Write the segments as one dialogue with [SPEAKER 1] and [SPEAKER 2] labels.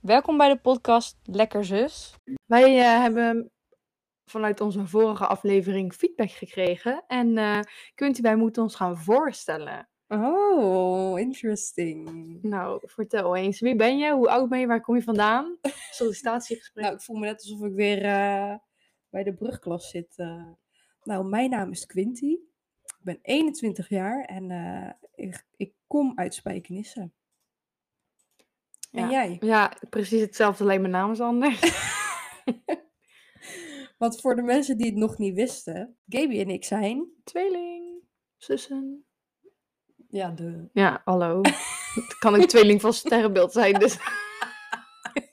[SPEAKER 1] Welkom bij de podcast Lekker Zus.
[SPEAKER 2] Wij eh, hebben vanuit onze vorige aflevering feedback gekregen. En eh Quinty, wij moeten ons gaan voorstellen.
[SPEAKER 3] Oh, interesting.
[SPEAKER 2] Nou, vertel eens. Wie ben je? Hoe oud ben je? Waar kom je vandaan? Sollicitatiegesprek.
[SPEAKER 3] Nou, ik voel me net alsof ik weer eh, bij de brugklas zit. eh. Nou, mijn naam is Quinty. Ik ben 21 jaar en eh, ik, ik kom uit Spijkenisse. En jij?
[SPEAKER 2] Ja, precies hetzelfde, alleen mijn naam is anders.
[SPEAKER 3] Want voor de mensen die het nog niet wisten, Gaby en ik zijn...
[SPEAKER 2] Tweeling. Zussen.
[SPEAKER 3] Ja, de...
[SPEAKER 2] Ja, hallo. Het kan een tweeling van sterrenbeeld zijn, dus...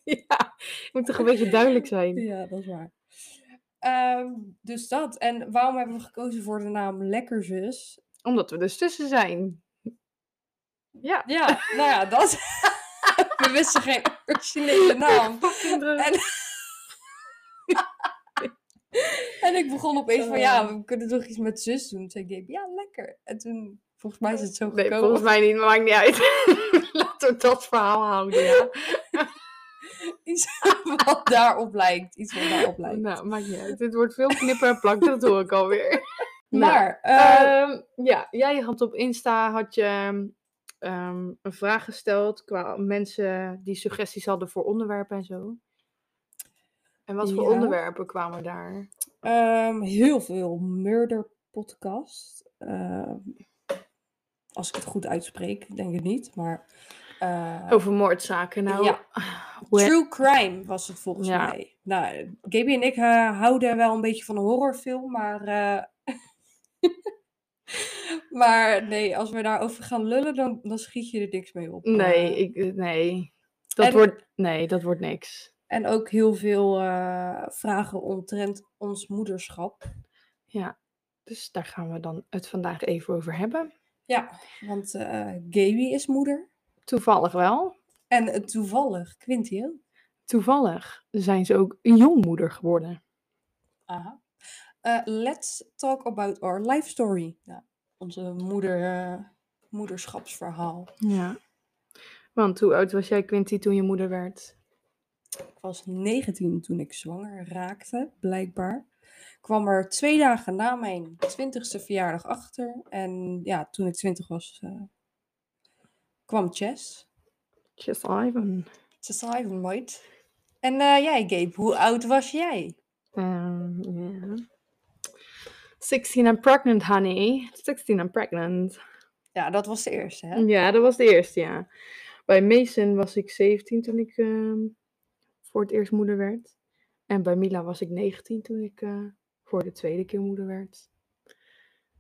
[SPEAKER 2] ja, het moet toch een beetje duidelijk zijn.
[SPEAKER 3] Ja, dat is waar. Ehm, dus dat. En waarom hebben we gekozen voor de naam Lekker Zus?
[SPEAKER 2] Omdat we dus zussen zijn. Ja.
[SPEAKER 3] Ja, nou ja, dat... we wisten geen originele naam.
[SPEAKER 2] Oh, Fucking druk.
[SPEAKER 3] En- En ik begon opeens van, ja, we kunnen toch iets met zus doen? Toen zei Gabe, ja, lekker. En toen, volgens mij is het zo
[SPEAKER 2] Nee,
[SPEAKER 3] gekomen.
[SPEAKER 2] volgens mij niet, maar maakt niet uit. Laten we dat verhaal houden, ja.
[SPEAKER 3] Iets wat daarop lijkt. Iets wat daarop lijkt.
[SPEAKER 2] Nou, maakt niet uit. Dit wordt veel knippen en plak, dat hoor ik alweer.
[SPEAKER 3] maar, eh,
[SPEAKER 2] Ehm, ja, jij had op Insta had je, ehm, een vraag gesteld qua mensen die suggesties hadden voor onderwerpen en zo. En wat voor
[SPEAKER 3] Ja.
[SPEAKER 2] onderwerpen kwamen daar? eh,
[SPEAKER 3] ehm, heel veel murder podcast. Ehm, als ik het goed uitspreek, ik denk het niet, maar... eh,
[SPEAKER 2] Over moordzaken, nou.
[SPEAKER 3] Ja.
[SPEAKER 2] hoe-
[SPEAKER 3] True crime was het volgens
[SPEAKER 2] Ja.
[SPEAKER 3] mij. Nou, Gaby en ik eh, houden wel een beetje van een horrorfilm, maar. eh, maar nee, als we daarover gaan lullen, dan, dan schiet je er niks mee op.
[SPEAKER 2] Nee,
[SPEAKER 3] Eh,
[SPEAKER 2] ik, nee. Dat
[SPEAKER 3] en-
[SPEAKER 2] wordt, nee, dat wordt niks.
[SPEAKER 3] En ook heel veel eh, vragen omtrent ons moederschap.
[SPEAKER 2] Dus daar gaan we dan het vandaag even over hebben.
[SPEAKER 3] Ja, want eh Gaby is moeder.
[SPEAKER 2] Toevallig wel.
[SPEAKER 3] En eh, toevallig, Quinty ook.
[SPEAKER 2] Toevallig zijn ze ook een jongmoeder geworden.
[SPEAKER 3] Aha. Eh, let's talk about our life story. Ja, onze moeder, eh, moederschapsverhaal.
[SPEAKER 2] Ja. Want hoe oud was jij, Quinty, toen je moeder werd?
[SPEAKER 3] Ik was 19 toen ik zwanger raakte, blijkbaar. Ik kwam er twee dagen na mijn 20ste verjaardag achter. En ja, toen ik 20 was, eh, kwam Chess.
[SPEAKER 2] Just Ivan.
[SPEAKER 3] Chess Ivan White. En eh, jij, Gabe, hoe oud was jij?
[SPEAKER 2] Ehm, ja. 16 and pregnant, honey. 16 and pregnant.
[SPEAKER 3] Ja, dat was de eerste, hè?
[SPEAKER 2] Ja, dat was de eerste, ja. Bij Mason was ik 17 toen ik ehm, voor het eerst moeder werd. En bij Mila was ik 19 toen ik eh, voor de tweede keer moeder werd.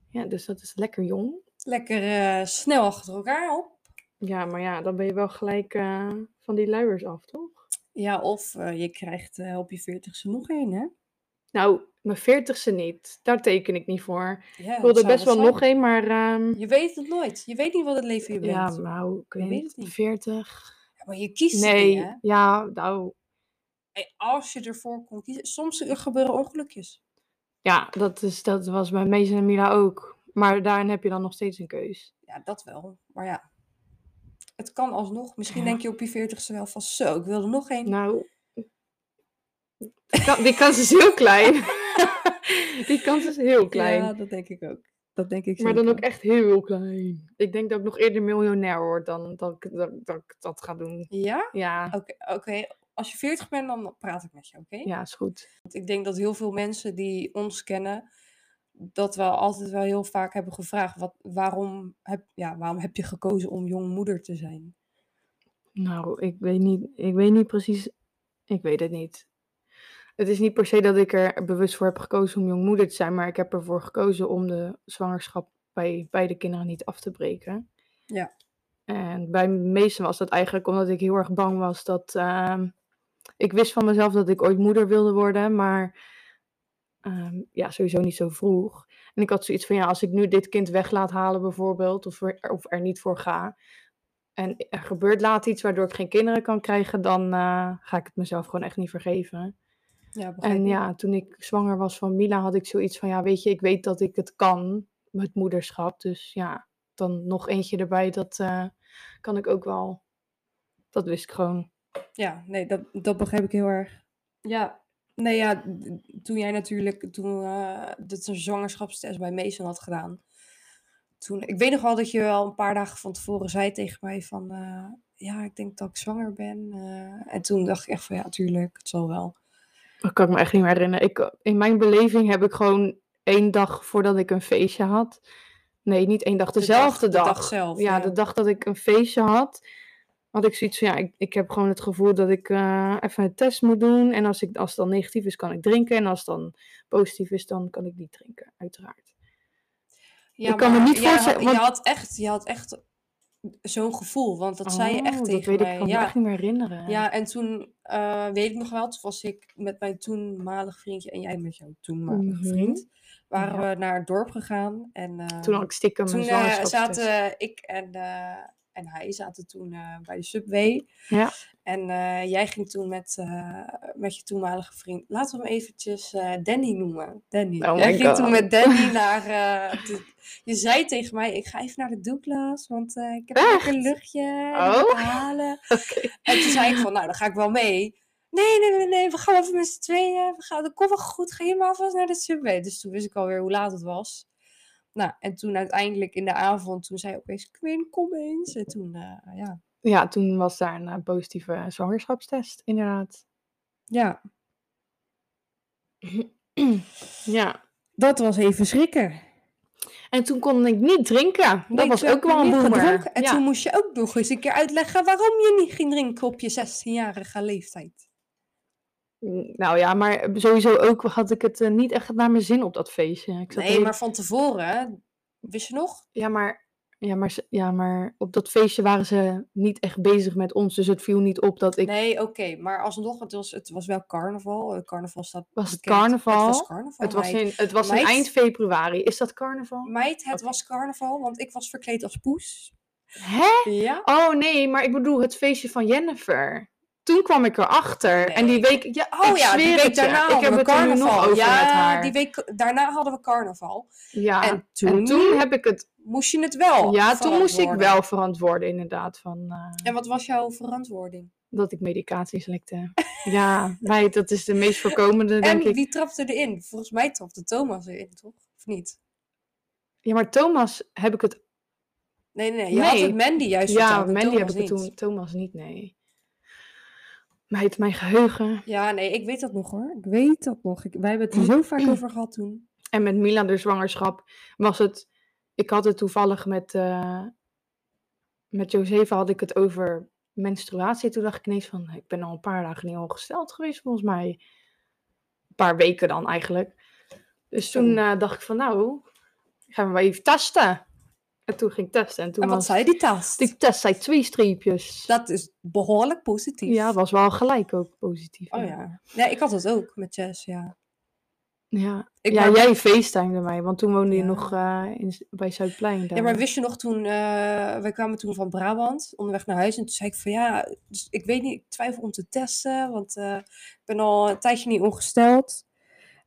[SPEAKER 2] Ja, dus dat is lekker jong.
[SPEAKER 3] Lekker eh, snel achter elkaar op.
[SPEAKER 2] Ja, maar ja, dan ben je wel gelijk eh, van die luiers af, toch?
[SPEAKER 3] Ja, of eh, je krijgt eh, op je 40ste nog één, hè?
[SPEAKER 2] Nou, mijn veertigste niet. Daar teken ik niet voor.
[SPEAKER 3] Ja, dat
[SPEAKER 2] Ik wilde
[SPEAKER 3] Oh, zou
[SPEAKER 2] best wel
[SPEAKER 3] zijn.
[SPEAKER 2] nog één, maar... ehm,
[SPEAKER 3] Je weet het nooit. Je weet niet wat het leven je brengt.
[SPEAKER 2] ja, nou, ik
[SPEAKER 3] weet
[SPEAKER 2] weet
[SPEAKER 3] het
[SPEAKER 2] niet.
[SPEAKER 3] niet.
[SPEAKER 2] Veertig?
[SPEAKER 3] Ja, maar je kiest het niet,
[SPEAKER 2] Nee,
[SPEAKER 3] hè?
[SPEAKER 2] ja, nou...
[SPEAKER 3] Hey, als je ervoor kon kiezen. Soms er gebeuren ongelukjes.
[SPEAKER 2] Ja, dat, is, dat was bij Mason en Mila ook. Maar daarin heb je dan nog steeds een keus.
[SPEAKER 3] Ja, dat wel. Maar ja, het kan alsnog. Misschien
[SPEAKER 2] Ja.
[SPEAKER 3] denk je op je veertigste wel van zo, ik wil er nog één.
[SPEAKER 2] Nou... Die kan- die kans is heel klein. die kans is heel klein.
[SPEAKER 3] Ja, dat denk ik ook. Dat denk ik
[SPEAKER 2] maar dan ook
[SPEAKER 3] zeker.
[SPEAKER 2] echt heel klein. Ik denk dat ik nog eerder miljonair word dan dat ik dat, dat, ik dat ga doen.
[SPEAKER 3] Ja?
[SPEAKER 2] Ja,
[SPEAKER 3] Oké, oké. als je veertig bent, dan praat ik met je, oké?
[SPEAKER 2] ja, is goed.
[SPEAKER 3] Want ik denk dat heel veel mensen die ons kennen, dat we altijd wel heel vaak hebben gevraagd, wat, waarom, heb, ja, waarom heb je gekozen om jong moeder te zijn?
[SPEAKER 2] Nou, ik weet niet, ik weet niet precies. Ik weet het niet. Het is niet per se dat ik er bewust voor heb gekozen om jongmoeder te zijn, maar ik heb ervoor gekozen om de zwangerschap bij beide kinderen niet af te breken.
[SPEAKER 3] Ja.
[SPEAKER 2] En bij meesten was dat eigenlijk omdat ik heel erg bang was dat. ehm, ik wist van mezelf dat ik ooit moeder wilde worden, maar ehm, ja, sowieso niet zo vroeg. En ik had zoiets van, ja, als ik nu dit kind weg laat halen bijvoorbeeld, of er, of er niet voor ga, en er gebeurt later iets waardoor ik geen kinderen kan krijgen, dan eh, ga ik het mezelf gewoon echt niet vergeven.
[SPEAKER 3] Ja, begrijp
[SPEAKER 2] En
[SPEAKER 3] ik.
[SPEAKER 2] ja, toen ik zwanger was van Mila, had ik zoiets van, ja, weet je, ik weet dat ik het kan, met moederschap. Dus ja, dan nog eentje erbij, dat eh, kan ik ook wel. Dat wist ik gewoon.
[SPEAKER 3] Ja, nee, dat, dat begrijp ik heel erg. Ja, nee, ja, d- toen jij natuurlijk, toen eh dat een zwangerschapstest bij Mason had gedaan. Toen, ik weet nog wel dat je wel een paar dagen van tevoren zei tegen mij van, eh, ja, ik denk dat ik zwanger ben. eh, en toen dacht ik echt van, ja, tuurlijk, het zal wel.
[SPEAKER 2] Dat kan ik me echt niet meer herinneren. Ik, in mijn beleving heb ik gewoon één dag voordat ik een feestje had. Nee, niet één dag,
[SPEAKER 3] De dag-
[SPEAKER 2] dezelfde
[SPEAKER 3] de
[SPEAKER 2] dag.
[SPEAKER 3] dag zelf,
[SPEAKER 2] Ja,
[SPEAKER 3] ja.
[SPEAKER 2] de dag dat ik een feestje had, had ik zoiets van, ja, ik, ik heb gewoon het gevoel dat ik eh, even een test moet doen. En als, ik, als het dan negatief is, kan ik drinken. En als het dan positief is, dan kan ik niet drinken, uiteraard.
[SPEAKER 3] Ja,
[SPEAKER 2] Ik kan me
[SPEAKER 3] maar
[SPEAKER 2] niet
[SPEAKER 3] jij had-
[SPEAKER 2] voorstellen,
[SPEAKER 3] Je,
[SPEAKER 2] want-
[SPEAKER 3] had echt, je had echt zo'n gevoel, want dat zei je
[SPEAKER 2] Oh,
[SPEAKER 3] echt tegen
[SPEAKER 2] dat weet
[SPEAKER 3] mij.
[SPEAKER 2] ik gewoon
[SPEAKER 3] ja.
[SPEAKER 2] echt niet meer herinneren.
[SPEAKER 3] Ja, en toen eh, weet ik nog wel, toen was ik met mijn toenmalig vriendje en jij met jouw toenmalig
[SPEAKER 2] Mhm.
[SPEAKER 3] vriend, waren
[SPEAKER 2] Ja.
[SPEAKER 3] we naar het dorp gegaan. En eh,
[SPEAKER 2] Toen had ik stiekem
[SPEAKER 3] toen,
[SPEAKER 2] een
[SPEAKER 3] eh,
[SPEAKER 2] zwangerschapstest.
[SPEAKER 3] zaten ik en, eh, en hij zaten toen eh, bij de Subway.
[SPEAKER 2] Ja.
[SPEAKER 3] En eh, jij ging toen met, eh, met je toenmalige vriend, laten we hem eventjes eh, Danny noemen. Danny.
[SPEAKER 2] Oh
[SPEAKER 3] jij
[SPEAKER 2] my
[SPEAKER 3] ging toen
[SPEAKER 2] God.
[SPEAKER 3] met Danny naar, eh, de- je zei tegen mij, ik ga even naar de Douglas, want eh, ik heb een lekker luchtje en ik moet
[SPEAKER 2] Oh.
[SPEAKER 3] halen.
[SPEAKER 2] Oké.
[SPEAKER 3] En toen zei ik van, nou, dan ga ik wel mee. Nee, nee, nee, nee, we gaan even met z'n tweeën. We gaan, dat komt wel goed, ga je maar alvast naar de subway. Dus toen wist ik alweer hoe laat het was. Nou, en toen uiteindelijk in de avond, toen zei opeens, Quinn, kom eens. En toen, eh, ja.
[SPEAKER 2] Ja, toen was daar een eh, positieve zwangerschapstest, inderdaad.
[SPEAKER 3] Ja,
[SPEAKER 2] Ja.
[SPEAKER 3] dat was even schrikken.
[SPEAKER 2] En toen kon ik niet drinken. Dat was ook wel een boemer.
[SPEAKER 3] En
[SPEAKER 2] ja.
[SPEAKER 3] toen moest je ook nog eens een keer uitleggen waarom je niet ging drinken op je 16-jarige leeftijd.
[SPEAKER 2] Mm, Nou ja, maar sowieso ook had ik het eh, niet echt naar mijn zin op dat feestje. Ik zat de
[SPEAKER 3] Nee,
[SPEAKER 2] hele-
[SPEAKER 3] maar van tevoren, wist je nog?
[SPEAKER 2] Ja, maar... Ja maar, ze- ja, maar op dat feestje waren ze niet echt bezig met ons. Dus het viel niet op dat ik...
[SPEAKER 3] Nee, oké, maar alsnog, het was, het was wel carnaval. Eh, Carnaval staat.
[SPEAKER 2] Was het
[SPEAKER 3] bekend.
[SPEAKER 2] carnaval?
[SPEAKER 3] Het was carnaval.
[SPEAKER 2] het was,
[SPEAKER 3] meid.
[SPEAKER 2] in, het was in
[SPEAKER 3] meid-
[SPEAKER 2] eind februari. Is dat carnaval?
[SPEAKER 3] Meid, het
[SPEAKER 2] Oké.
[SPEAKER 3] was carnaval, want ik was verkleed als poes.
[SPEAKER 2] Hè?
[SPEAKER 3] Ja.
[SPEAKER 2] Oh nee, maar ik bedoel het feestje van Jennifer. Toen kwam ik erachter. En die
[SPEAKER 3] Nee.
[SPEAKER 2] week... Ja,
[SPEAKER 3] Oh
[SPEAKER 2] ik
[SPEAKER 3] ja,
[SPEAKER 2] zweer
[SPEAKER 3] die week
[SPEAKER 2] het je.
[SPEAKER 3] daarna
[SPEAKER 2] Ik
[SPEAKER 3] hadden
[SPEAKER 2] heb
[SPEAKER 3] we
[SPEAKER 2] het er nu
[SPEAKER 3] carnaval.
[SPEAKER 2] nog over
[SPEAKER 3] ja,
[SPEAKER 2] met haar.
[SPEAKER 3] die week daarna hadden we carnaval.
[SPEAKER 2] Ja, en,
[SPEAKER 3] en, toen
[SPEAKER 2] toen heb ik het...
[SPEAKER 3] moest je het wel.
[SPEAKER 2] Ja, toen moest ik
[SPEAKER 3] verantwoorden.
[SPEAKER 2] wel verantwoorden inderdaad. Van, eh,
[SPEAKER 3] En wat was jouw verantwoording?
[SPEAKER 2] dat ik medicaties likte. ja, nee, dat is de meest voorkomende, denk
[SPEAKER 3] en
[SPEAKER 2] ik.
[SPEAKER 3] wie trapte erin? Volgens mij trapte Thomas erin, toch? Of niet?
[SPEAKER 2] Ja, maar Thomas heb ik het...
[SPEAKER 3] Nee, nee, nee. Je had
[SPEAKER 2] Nee.
[SPEAKER 3] het Mandy juist
[SPEAKER 2] ja,
[SPEAKER 3] verteld en
[SPEAKER 2] Mandy heb
[SPEAKER 3] Thomas
[SPEAKER 2] ik het
[SPEAKER 3] niet.
[SPEAKER 2] toen. Thomas niet, nee. Meid, mijn geheugen.
[SPEAKER 3] Ja, nee, ik weet dat nog hoor. Mm. Ik weet dat nog. Ik, wij hebben het er zo vaak over gehad toen.
[SPEAKER 2] En met Mila de zwangerschap was het... Ik had het toevallig met... eh, met Josefa had ik het over menstruatie. Toen dacht ik ineens van... Ik ben al een paar dagen niet ongesteld geweest, volgens mij. Een paar weken dan eigenlijk. Dus toen
[SPEAKER 3] Zo.
[SPEAKER 2] eh, dacht ik van... Nou, gaan we maar even testen. En toen ging ik testen. En toen
[SPEAKER 3] en wat
[SPEAKER 2] was...
[SPEAKER 3] zei die taas?
[SPEAKER 2] Die test zei twee streepjes.
[SPEAKER 3] Dat is behoorlijk positief.
[SPEAKER 2] Ja, was wel gelijk ook positief.
[SPEAKER 3] Oh ja. Nee, ik had dat ook met Jess, ja.
[SPEAKER 2] Ja,
[SPEAKER 3] Ik
[SPEAKER 2] ja
[SPEAKER 3] maak-
[SPEAKER 2] jij FaceTimede mij, want toen woonde
[SPEAKER 3] Ja.
[SPEAKER 2] je nog eh, in, Z- bij Zuidplein. Daar.
[SPEAKER 3] Ja, maar wist je nog toen, eh, wij kwamen toen van Brabant onderweg naar huis en toen zei ik van ja, dus ik weet niet, ik twijfel om te testen, want eh, ik ben al een tijdje niet ongesteld.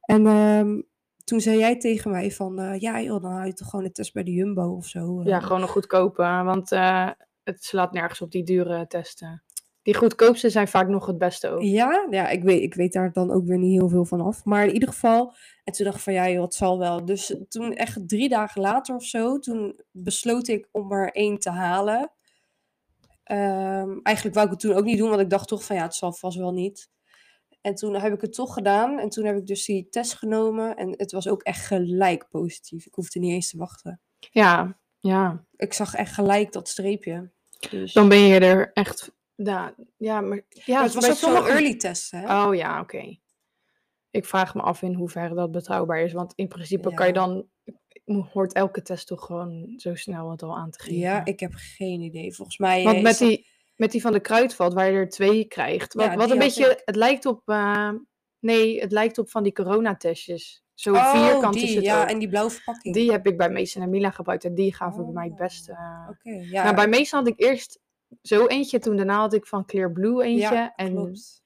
[SPEAKER 3] En ehm, toen zei jij tegen mij van eh, ja joh, dan hou je toch gewoon een test bij de Jumbo of zo. eh.
[SPEAKER 2] Ja, gewoon een goedkope, want eh, het slaat nergens op die dure testen. Die goedkoopste zijn vaak nog het beste ook.
[SPEAKER 3] Ja, ja ik, weet, ik weet daar dan ook weer niet heel veel van af. Maar in ieder geval, en toen dacht ik van ja, joh, het zal wel. Dus toen echt drie dagen later of zo, toen besloot ik om er één te halen. Ehm, eigenlijk wou ik het toen ook niet doen, want ik dacht toch van ja, het zal vast wel niet. En toen heb ik het toch gedaan. En toen heb ik dus die test genomen. En het was ook echt gelijk positief. Ik hoefde niet eens te wachten.
[SPEAKER 2] Ja, ja.
[SPEAKER 3] Ik zag echt gelijk dat streepje. Dus.
[SPEAKER 2] Dan ben je er echt... Ja, ja maar... Ja,
[SPEAKER 3] Maar het was
[SPEAKER 2] bij
[SPEAKER 3] ook zo'n
[SPEAKER 2] sommigen-
[SPEAKER 3] early test, hè?
[SPEAKER 2] Oh ja, oké. Ik vraag me af in hoeverre dat betrouwbaar is, want in principe kan je
[SPEAKER 3] Ja.
[SPEAKER 2] dan... Hoort elke test toch gewoon zo snel het al aan te geven.
[SPEAKER 3] Ja, ik heb geen idee. Volgens mij. eh,
[SPEAKER 2] Want
[SPEAKER 3] is
[SPEAKER 2] met
[SPEAKER 3] dat-
[SPEAKER 2] die, met die van de kruidvat, waar je er twee krijgt. Wat,
[SPEAKER 3] Ja,
[SPEAKER 2] wat
[SPEAKER 3] die
[SPEAKER 2] een
[SPEAKER 3] had
[SPEAKER 2] beetje,
[SPEAKER 3] ik.
[SPEAKER 2] het lijkt op. eh, nee, het lijkt op van die coronatestjes. Zo
[SPEAKER 3] Oh,
[SPEAKER 2] vierkant
[SPEAKER 3] die,
[SPEAKER 2] is het.
[SPEAKER 3] ja,
[SPEAKER 2] ook.
[SPEAKER 3] en die blauwe verpakking.
[SPEAKER 2] Die heb ik bij Mason en Mila gebruikt en die gaven bij mij het
[SPEAKER 3] Oh,
[SPEAKER 2] beste. eh.
[SPEAKER 3] Oké, ja.
[SPEAKER 2] nou, bij Mason had ik eerst zo eentje, toen daarna had ik van Clear Blue eentje.
[SPEAKER 3] ja,
[SPEAKER 2] en
[SPEAKER 3] klopt.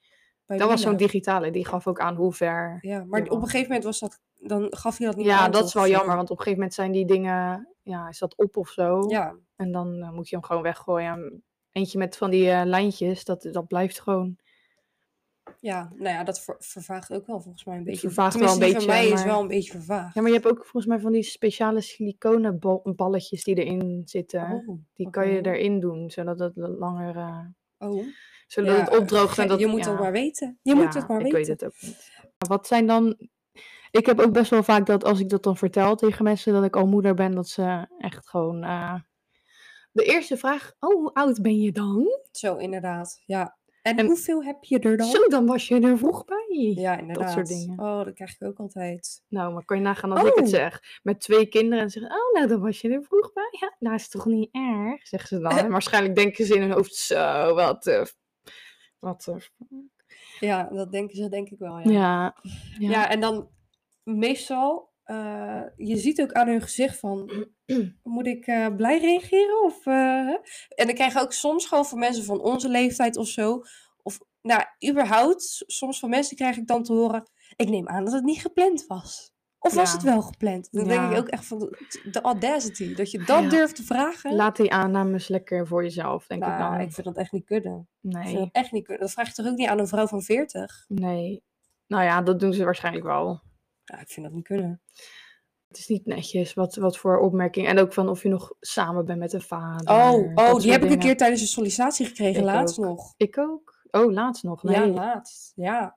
[SPEAKER 3] Bij
[SPEAKER 2] dat was zo'n
[SPEAKER 3] Lina.
[SPEAKER 2] digitale, die gaf ook aan hoe ver. Ja,
[SPEAKER 3] Ja, maar
[SPEAKER 2] Ja.
[SPEAKER 3] op een gegeven moment was dat, dan gaf hij dat niet aan,
[SPEAKER 2] dat
[SPEAKER 3] toch,
[SPEAKER 2] is wel
[SPEAKER 3] of zo?
[SPEAKER 2] jammer, want op een gegeven moment zijn die dingen. Ja, is dat op of zo?
[SPEAKER 3] Ja,
[SPEAKER 2] En dan eh, moet je hem gewoon weggooien. eentje met van die eh, lijntjes, dat, dat blijft gewoon.
[SPEAKER 3] Ja, nou ja, dat ver- vervaagt ook wel volgens mij een beetje.
[SPEAKER 2] vervaagt wel
[SPEAKER 3] Tenminste,
[SPEAKER 2] een
[SPEAKER 3] die van
[SPEAKER 2] beetje,
[SPEAKER 3] mij is
[SPEAKER 2] maar-
[SPEAKER 3] wel een beetje vervaagd.
[SPEAKER 2] Ja, maar je hebt ook volgens mij van die speciale siliconen bal- balletjes die erin zitten.
[SPEAKER 3] Oh,
[SPEAKER 2] die kan je
[SPEAKER 3] oké.
[SPEAKER 2] erin doen, zodat het l- langer, eh,
[SPEAKER 3] Oh.
[SPEAKER 2] zodat
[SPEAKER 3] Ja,
[SPEAKER 2] het opdroogt.
[SPEAKER 3] ge-
[SPEAKER 2] En dat,
[SPEAKER 3] je moet
[SPEAKER 2] ja,
[SPEAKER 3] het maar weten. Je moet
[SPEAKER 2] ja,
[SPEAKER 3] het maar
[SPEAKER 2] ik
[SPEAKER 3] weten.
[SPEAKER 2] weet het ook niet. Maar wat zijn dan... Ik heb ook best wel vaak dat als ik dat dan vertel tegen mensen dat ik al moeder ben, dat ze echt gewoon... eh, de eerste vraag, oh, hoe oud ben je dan?
[SPEAKER 3] Zo, inderdaad. Ja. En,
[SPEAKER 2] En-
[SPEAKER 3] hoeveel heb je er dan?
[SPEAKER 2] Zo, dan was je er vroeg bij.
[SPEAKER 3] ja, inderdaad.
[SPEAKER 2] dingen.
[SPEAKER 3] Oh, dat krijg ik ook altijd.
[SPEAKER 2] Nou, maar kan je nagaan als ik het
[SPEAKER 3] Oh.
[SPEAKER 2] zeg. Met twee kinderen en zeggen, oh, nou, dan was je er vroeg bij. Ja, nou, is toch niet erg, zeggen ze dan. En waarschijnlijk denken ze in hun hoofd, zo, wat... eh, wat eh."
[SPEAKER 3] Ja, dat denken ze denk ik wel. Ja,
[SPEAKER 2] ja.
[SPEAKER 3] Ja, en dan meestal, eh, je ziet ook aan hun gezicht van, moet ik eh, blij reageren? Of, eh, hè? en dan krijg je ook soms gewoon van mensen van onze leeftijd of zo. Of, nou, überhaupt, s- soms van mensen krijg ik dan te horen, ik neem aan dat het niet gepland was. Of was
[SPEAKER 2] Ja.
[SPEAKER 3] het wel gepland? Dan denk
[SPEAKER 2] Ja.
[SPEAKER 3] ik ook echt van de, de audacity. Dat je dat
[SPEAKER 2] Ja.
[SPEAKER 3] durft te vragen.
[SPEAKER 2] Laat die aannames lekker voor jezelf, denk ik
[SPEAKER 3] Nou,
[SPEAKER 2] dan.
[SPEAKER 3] ik vind dat echt niet kunnen. Ik vind
[SPEAKER 2] Nee,
[SPEAKER 3] dat echt niet kunnen. Dat vraag je toch ook niet aan een vrouw van 40?
[SPEAKER 2] nee. Nou ja, dat doen ze waarschijnlijk wel.
[SPEAKER 3] Ja, Nou, ik vind dat niet kunnen.
[SPEAKER 2] Het is niet netjes, wat, wat voor opmerking. En ook van of je nog samen bent met een vader.
[SPEAKER 3] Oh,
[SPEAKER 2] dat
[SPEAKER 3] oh
[SPEAKER 2] soort
[SPEAKER 3] die heb ik
[SPEAKER 2] dingen.
[SPEAKER 3] een keer tijdens een sollicitatie gekregen,
[SPEAKER 2] Ik
[SPEAKER 3] laatst
[SPEAKER 2] ook.
[SPEAKER 3] nog.
[SPEAKER 2] Ik ook. Oh, laatst nog. Nee.
[SPEAKER 3] Ja, laatst. Ja.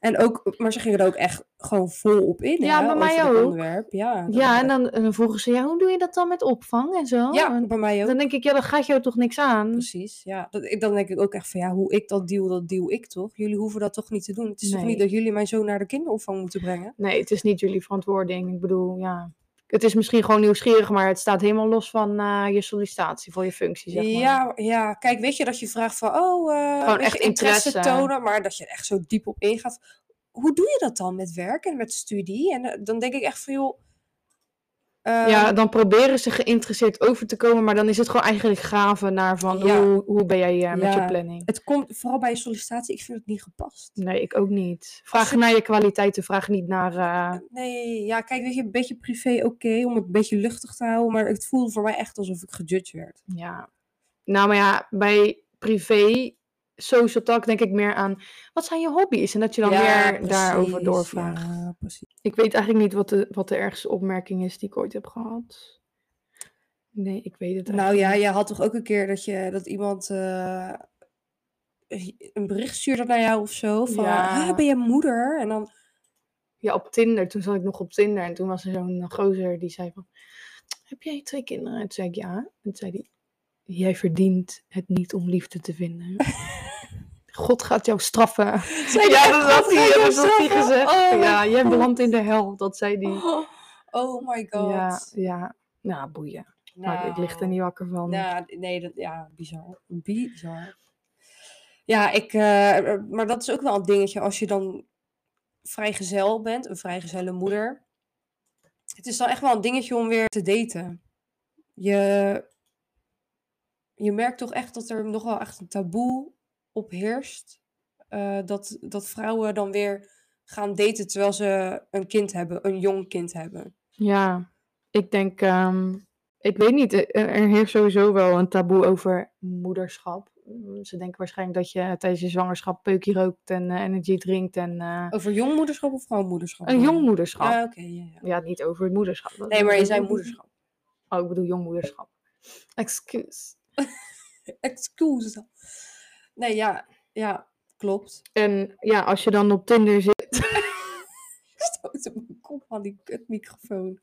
[SPEAKER 3] En ook, maar ze gingen er ook echt gewoon vol op in.
[SPEAKER 2] Ja,
[SPEAKER 3] hè,
[SPEAKER 2] bij mij
[SPEAKER 3] over dit
[SPEAKER 2] ook.
[SPEAKER 3] Onderwerp. Ja, dat
[SPEAKER 2] Ja,
[SPEAKER 3] ik
[SPEAKER 2] en dan, en dan vroegen ze, ja, hoe doe je dat dan met opvang en zo?
[SPEAKER 3] echt-
[SPEAKER 2] En
[SPEAKER 3] ja, bij mij ook.
[SPEAKER 2] dan denk ik, ja, dat gaat jou toch niks aan?
[SPEAKER 3] Precies. Ja, dat, ik- dan denk ik ook echt van ja, hoe ik dat deal, dat deal ik toch? Jullie hoeven dat toch niet te doen? Het is toch
[SPEAKER 2] Nee.
[SPEAKER 3] niet dat jullie mijn zoon naar de kinderopvang moeten brengen?
[SPEAKER 2] Nee, het is niet jullie verantwoording. Ik bedoel, ja. Het is misschien gewoon nieuwsgierig, maar het staat helemaal los van eh, je sollicitatie voor je functie, zeg maar.
[SPEAKER 3] Ja, ja, kijk, weet je dat je vraagt van oh, eh,
[SPEAKER 2] Gewoon
[SPEAKER 3] weet je,
[SPEAKER 2] echt
[SPEAKER 3] interesse,
[SPEAKER 2] interesse.
[SPEAKER 3] tonen, maar dat je er echt zo diep op ingaat. Hoe doe je dat dan met werk en met studie? En eh, dan denk ik echt van joh. eh,
[SPEAKER 2] Ja, dan proberen ze geïnteresseerd over te komen, maar dan is het gewoon eigenlijk graven naar van,
[SPEAKER 3] Ja.
[SPEAKER 2] hoe, hoe ben jij eh, met
[SPEAKER 3] Ja.
[SPEAKER 2] je planning?
[SPEAKER 3] Het komt vooral bij een sollicitatie, ik vind het niet gepast.
[SPEAKER 2] Nee, ik ook niet. Vraag
[SPEAKER 3] ze-
[SPEAKER 2] naar je kwaliteiten, vraag niet naar... eh,
[SPEAKER 3] Nee, ja, kijk, weet je, een beetje privé oké, om het een beetje luchtig te houden, maar het voelde voor mij echt alsof ik gejudged werd.
[SPEAKER 2] Ja. Nou, maar ja, bij privé social talk denk ik meer aan wat zijn je hobby's en dat je dan
[SPEAKER 3] ja,
[SPEAKER 2] weer daarover
[SPEAKER 3] precies,
[SPEAKER 2] doorvraagt.
[SPEAKER 3] Ja, precies.
[SPEAKER 2] Ik weet eigenlijk niet wat de, wat de ergste opmerking is die ik ooit heb gehad. Nee, ik weet het
[SPEAKER 3] Nou ja,
[SPEAKER 2] eigenlijk
[SPEAKER 3] je had toch ook een keer dat, je, dat iemand eh, een bericht stuurde naar jou of zo, van
[SPEAKER 2] Ja.
[SPEAKER 3] ah, ben je moeder? En dan,
[SPEAKER 2] niet. Ja, op Tinder. Toen zat ik nog op Tinder en toen was er zo'n gozer die zei van... Heb jij twee kinderen? En toen zei ik ja. En toen zei hij... Jij verdient het niet om liefde te vinden. God gaat jou straffen.
[SPEAKER 3] zei
[SPEAKER 2] Ja,
[SPEAKER 3] je,
[SPEAKER 2] dat
[SPEAKER 3] "God,
[SPEAKER 2] had
[SPEAKER 3] ga
[SPEAKER 2] hij,
[SPEAKER 3] je
[SPEAKER 2] dat had hij
[SPEAKER 3] straffen?"
[SPEAKER 2] gezegd.
[SPEAKER 3] Oh,
[SPEAKER 2] ja,
[SPEAKER 3] my
[SPEAKER 2] jij
[SPEAKER 3] God.
[SPEAKER 2] belandt in de hel, dat zei hij.
[SPEAKER 3] Oh, oh my god.
[SPEAKER 2] Ja, ja. Nou, boeien. Maar ik lig er
[SPEAKER 3] Nou.
[SPEAKER 2] niet wakker van.
[SPEAKER 3] Ja, nee, dat, ja, bizar. Bizar. Ja, ik, eh, eh, maar dat is ook wel een dingetje als je dan vrijgezel bent, een vrijgezelle moeder. Het is dan echt wel een dingetje om weer te daten. Je, je merkt toch echt dat er nog wel echt een taboe op heerst. eh, dat, dat vrouwen dan weer gaan daten terwijl ze een kind hebben, een jong kind hebben.
[SPEAKER 2] Ja, ik denk, ehm, ik weet niet, eh, eh, er heerst sowieso wel een taboe over moederschap. Mm, Ze denken waarschijnlijk dat je tijdens je zwangerschap peukje rookt en eh, energy drinkt en eh,
[SPEAKER 3] Over jong moederschap of gewoon moederschap?
[SPEAKER 2] een jong
[SPEAKER 3] Ah,
[SPEAKER 2] moederschap.
[SPEAKER 3] oké. ja, ja.
[SPEAKER 2] ja, niet over het moederschap. dat-
[SPEAKER 3] Nee, maar je
[SPEAKER 2] dat-
[SPEAKER 3] zei moederschap.
[SPEAKER 2] Oh, ik bedoel jong moederschap. Excuse.
[SPEAKER 3] Excuse. Nee, ja, ja, klopt.
[SPEAKER 2] En ja, als je dan op Tinder zit,
[SPEAKER 3] Ik stoot op mijn kop aan die kutmicrofoon.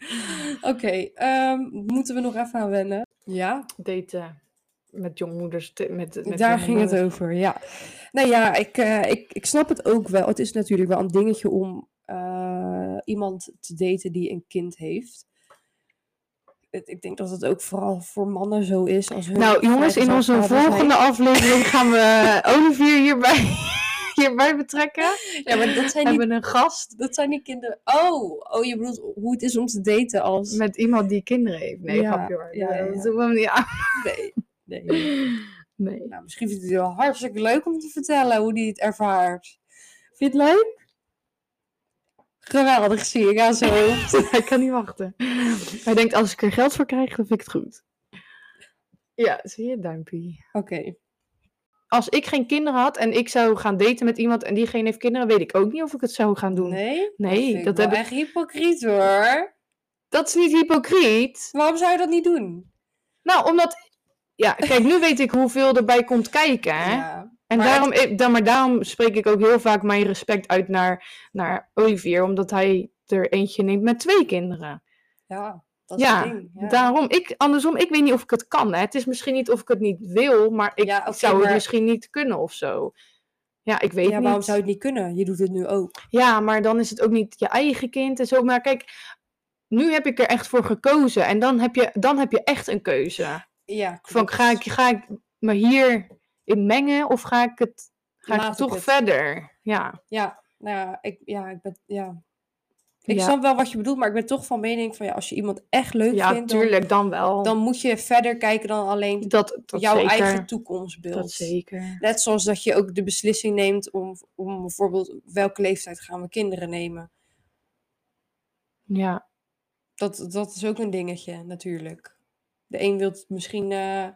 [SPEAKER 3] Oké, ehm, moeten we nog even aan wennen? Ja,
[SPEAKER 2] daten met jongmoeders, te- met, met
[SPEAKER 3] daar
[SPEAKER 2] jonge
[SPEAKER 3] ging het
[SPEAKER 2] moeders.
[SPEAKER 3] over, ja. Nee, ja, ik, eh, ik, ik snap het ook wel. Het is natuurlijk wel een dingetje om eh, iemand te daten die een kind heeft. Het- Ik denk dat het ook vooral voor mannen zo is. Als hun
[SPEAKER 2] Nou, jongens, in
[SPEAKER 3] vrijgezel
[SPEAKER 2] onze
[SPEAKER 3] vaders-
[SPEAKER 2] volgende aflevering gaan we eh, Olivier hierbij, hierbij betrekken.
[SPEAKER 3] Ja, maar dat zijn, niet,
[SPEAKER 2] hebben een gast
[SPEAKER 3] dat zijn niet kinderen. Oh, oh, je bedoelt hoe het is om te daten als...
[SPEAKER 2] met iemand die kinderen heeft. Nee,
[SPEAKER 3] Ja,
[SPEAKER 2] grapje hoor.
[SPEAKER 3] ja,
[SPEAKER 2] Nee,
[SPEAKER 3] ja, ja.
[SPEAKER 2] Dat doen we hem niet aan.
[SPEAKER 3] Nee, nee.
[SPEAKER 2] Nee.
[SPEAKER 3] Nou, misschien vindt hij het wel hartstikke leuk om te vertellen hoe hij het ervaart. Vind je het leuk? Geweldig, zie ik aan zijn hoofd.
[SPEAKER 2] Hij kan niet wachten. Hij denkt, als ik er geld voor krijg, dan vind ik het goed. Ja, zie je, duimpie.
[SPEAKER 3] Oké,
[SPEAKER 2] als ik geen kinderen had en ik zou gaan daten met iemand en diegene heeft kinderen, weet ik ook niet of ik het zou gaan doen.
[SPEAKER 3] Nee?
[SPEAKER 2] Nee,
[SPEAKER 3] vind
[SPEAKER 2] dat
[SPEAKER 3] ik wel
[SPEAKER 2] heb
[SPEAKER 3] echt hypocriet hoor.
[SPEAKER 2] Dat is niet hypocriet.
[SPEAKER 3] Waarom zou je dat niet doen?
[SPEAKER 2] Nou, omdat. Ja, kijk, nu weet ik hoeveel erbij komt kijken. Hè?
[SPEAKER 3] Ja.
[SPEAKER 2] en
[SPEAKER 3] maar
[SPEAKER 2] daarom, ik- dan, maar daarom spreek ik ook heel vaak mijn respect uit naar, naar Olivier, omdat hij er eentje neemt met twee kinderen.
[SPEAKER 3] ja, dat is
[SPEAKER 2] Ja,
[SPEAKER 3] het ding. Ja.
[SPEAKER 2] Daarom, ik, andersom, ik weet niet of ik het kan. Hè? Het is misschien niet of ik het niet wil, maar ik
[SPEAKER 3] Ja, oké,
[SPEAKER 2] zou het
[SPEAKER 3] maar-
[SPEAKER 2] misschien niet kunnen of zo. Ja, ik weet
[SPEAKER 3] ja,
[SPEAKER 2] niet.
[SPEAKER 3] waarom zou je het niet kunnen? Je doet het nu ook.
[SPEAKER 2] Ja, maar dan is het ook niet je eigen kind en zo. Maar kijk, nu heb ik er echt voor gekozen. En dan heb je, dan heb je echt een keuze.
[SPEAKER 3] Ja,
[SPEAKER 2] Van
[SPEAKER 3] klopt.
[SPEAKER 2] ga ik, ga ik me hier in mengen of ga ik het ga
[SPEAKER 3] Laat
[SPEAKER 2] ik
[SPEAKER 3] ik
[SPEAKER 2] toch
[SPEAKER 3] het.
[SPEAKER 2] verder? Ja.
[SPEAKER 3] Ja, nou ja, ik, ja, ik ben, ja. Ik
[SPEAKER 2] Ja.
[SPEAKER 3] snap wel wat je bedoelt, maar ik ben toch van mening van ja, als je iemand echt leuk
[SPEAKER 2] ja,
[SPEAKER 3] vindt, dan-
[SPEAKER 2] tuurlijk dan wel.
[SPEAKER 3] Dan, moet je verder kijken dan alleen
[SPEAKER 2] dat, dat
[SPEAKER 3] jouw
[SPEAKER 2] zeker.
[SPEAKER 3] eigen toekomstbeeld.
[SPEAKER 2] Dat zeker.
[SPEAKER 3] Net zoals dat je ook de beslissing neemt om, om bijvoorbeeld welke leeftijd gaan we kinderen nemen.
[SPEAKER 2] Ja.
[SPEAKER 3] Dat, dat is ook een dingetje natuurlijk. De een wil het misschien eh,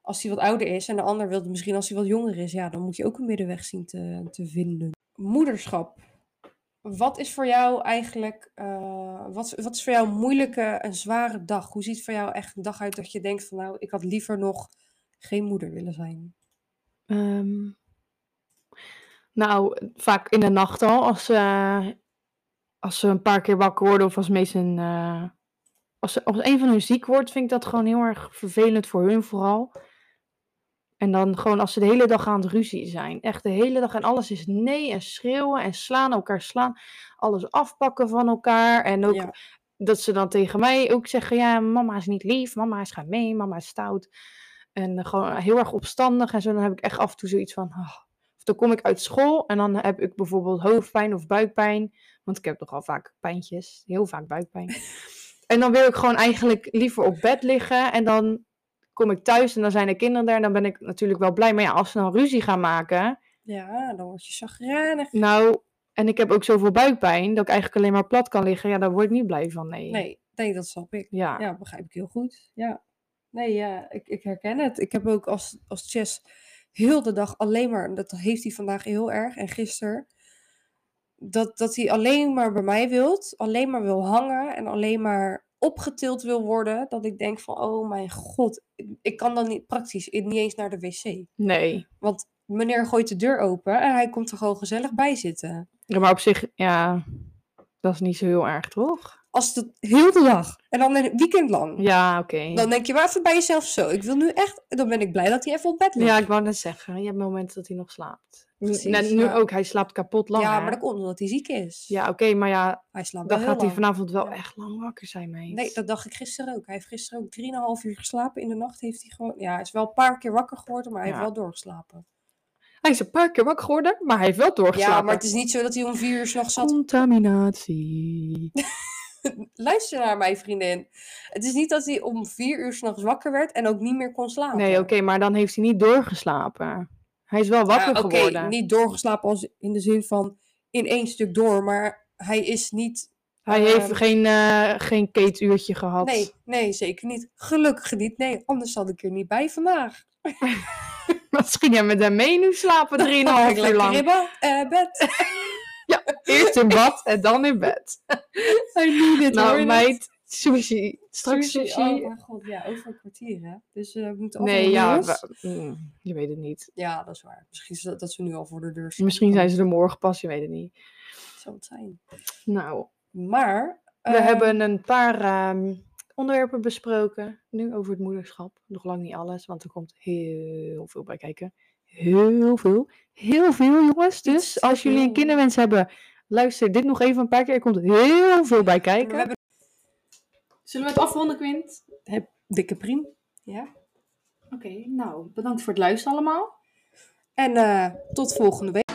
[SPEAKER 3] als hij wat ouder is en de ander wil het misschien als hij wat jonger is. Ja, dan moet je ook een middenweg zien te, te vinden. Moederschap. Wat is voor jou eigenlijk, eh, wat, wat is voor jou een moeilijke en zware dag? Hoe ziet voor jou echt een dag uit dat je denkt van nou, ik had liever nog geen moeder willen zijn?
[SPEAKER 2] Ehm, nou, vaak in de nacht al. Als, ze- als ze een paar keer wakker worden of als mensen. eh, als, ze- als een van hun ziek wordt, vind ik dat gewoon heel erg vervelend voor hun vooral. En dan gewoon als ze de hele dag aan het ruzie zijn. Echt de hele dag. En alles is nee en schreeuwen en slaan, elkaar slaan. Alles afpakken van elkaar. En ook
[SPEAKER 3] Ja.
[SPEAKER 2] dat ze dan tegen mij ook zeggen: Ja, mama is niet lief, mama is gaan mee, mama is stout. En eh, gewoon heel erg opstandig en zo. Dan heb ik echt af en toe zoiets van: ah. Of dan kom ik uit school en dan heb ik bijvoorbeeld hoofdpijn of buikpijn. Want ik heb nogal vaak pijntjes, heel vaak buikpijn. en dan wil ik gewoon eigenlijk liever op bed liggen. En dan kom ik thuis en dan zijn de kinderen daar. En dan ben ik natuurlijk wel blij. Maar ja, als ze dan ruzie gaan maken.
[SPEAKER 3] Ja, dan word je chagrijnig.
[SPEAKER 2] Nou, en ik heb ook zoveel buikpijn dat ik eigenlijk alleen maar plat kan liggen. Ja, daar word ik niet blij van. Nee.
[SPEAKER 3] Nee, nee, dat snap ik.
[SPEAKER 2] Ja.
[SPEAKER 3] Ja, begrijp ik heel goed. Ja. Nee, ja, ik, ik herken het. Ik heb ook als, als Chess heel de dag alleen maar, dat heeft hij vandaag heel erg en gisteren, dat, dat hij alleen maar bij mij wilt, alleen maar wil hangen en alleen maar opgetild wil worden, dat ik denk van, oh mijn god, ik, ik kan dan niet praktisch niet eens naar de wc.
[SPEAKER 2] nee.
[SPEAKER 3] Want meneer gooit de deur open en hij komt er gewoon gezellig bij zitten.
[SPEAKER 2] Ja, maar op zich, ja, dat is niet zo heel erg, toch?
[SPEAKER 3] Als het heel de dag en dan een weekend lang.
[SPEAKER 2] Ja, oké.
[SPEAKER 3] Dan denk je maar even bij jezelf zo. Ik wil nu echt. Dan ben ik blij dat hij even op bed ligt.
[SPEAKER 2] Ja, ik wou net zeggen, je hebt momenten dat hij nog slaapt. N-
[SPEAKER 3] Precies,
[SPEAKER 2] nou, nu
[SPEAKER 3] ja.
[SPEAKER 2] ook, hij slaapt kapot lang.
[SPEAKER 3] Ja,
[SPEAKER 2] hè?
[SPEAKER 3] maar dat komt omdat hij ziek is.
[SPEAKER 2] Ja, oké, maar ja,
[SPEAKER 3] Hij slaapt
[SPEAKER 2] dan
[SPEAKER 3] wel
[SPEAKER 2] gaat
[SPEAKER 3] heel
[SPEAKER 2] hij
[SPEAKER 3] lang.
[SPEAKER 2] vanavond wel
[SPEAKER 3] Ja.
[SPEAKER 2] echt lang wakker zijn, meid.
[SPEAKER 3] Nee, dat dacht ik gisteren ook. Hij heeft gisteren ook 3,5 uur geslapen in de nacht. Heeft hij gewoon. Ja, hij is wel een paar keer wakker geworden, maar hij
[SPEAKER 2] Ja.
[SPEAKER 3] heeft wel doorgeslapen.
[SPEAKER 2] Hij is een paar keer wakker geworden, maar hij heeft wel doorgeslapen.
[SPEAKER 3] Ja, maar het is niet zo dat hij om vier uur 's nachts zat.
[SPEAKER 2] Contaminatie.
[SPEAKER 3] Luister naar mij, vriendin. Het is niet dat hij om vier uur 's nachts wakker werd en ook niet meer kon slapen.
[SPEAKER 2] Nee, oké, maar dan heeft hij niet doorgeslapen. Hij is wel wakker
[SPEAKER 3] Ja, oké,
[SPEAKER 2] geworden.
[SPEAKER 3] niet doorgeslapen als in de zin van in één stuk door, maar hij is niet
[SPEAKER 2] Hij
[SPEAKER 3] Ehm,
[SPEAKER 2] heeft geen, eh, geen keetuurtje gehad.
[SPEAKER 3] Nee, nee, zeker niet. Gelukkig niet. Nee, anders had ik er niet bij vandaag.
[SPEAKER 2] Misschien jij met hem mee nu slapen
[SPEAKER 3] Had
[SPEAKER 2] 3,5
[SPEAKER 3] ik
[SPEAKER 2] uur
[SPEAKER 3] lekker
[SPEAKER 2] lang.
[SPEAKER 3] in ba- eh, bed.
[SPEAKER 2] Eerst in bad en dan in bed.
[SPEAKER 3] I need it, hoor
[SPEAKER 2] Nou,
[SPEAKER 3] je
[SPEAKER 2] meid, sushi.
[SPEAKER 3] dat?
[SPEAKER 2] Straks sushi.
[SPEAKER 3] Oh, mijn god, ja, over een kwartier, hè? Dus eh, we moeten
[SPEAKER 2] nee, ja,
[SPEAKER 3] Ja,
[SPEAKER 2] we- mm, je weet het niet.
[SPEAKER 3] ja, dat is waar. Misschien is dat, dat ze nu al voor de deur staan.
[SPEAKER 2] Misschien zijn ze er morgen pas, je weet het niet.
[SPEAKER 3] Zou het zijn.
[SPEAKER 2] Nou,
[SPEAKER 3] Maar...
[SPEAKER 2] we
[SPEAKER 4] Ehm.
[SPEAKER 3] eh,
[SPEAKER 2] hebben een paar ehm, onderwerpen besproken. Nu over het moederschap. Nog lang niet alles, want er komt heel veel bij kijken. Heel veel. Heel veel, jongens. Dus
[SPEAKER 3] te
[SPEAKER 2] als jullie een
[SPEAKER 3] veel.
[SPEAKER 2] kinderwens hebben, luister dit nog even een paar keer. Er komt heel veel bij
[SPEAKER 3] we
[SPEAKER 2] kijken.
[SPEAKER 3] hebben
[SPEAKER 4] Zullen we het afronden, Quint?
[SPEAKER 3] dikke priem. Ja.
[SPEAKER 4] Oké, nou, bedankt voor het luisteren allemaal.
[SPEAKER 3] En eh, tot volgende week.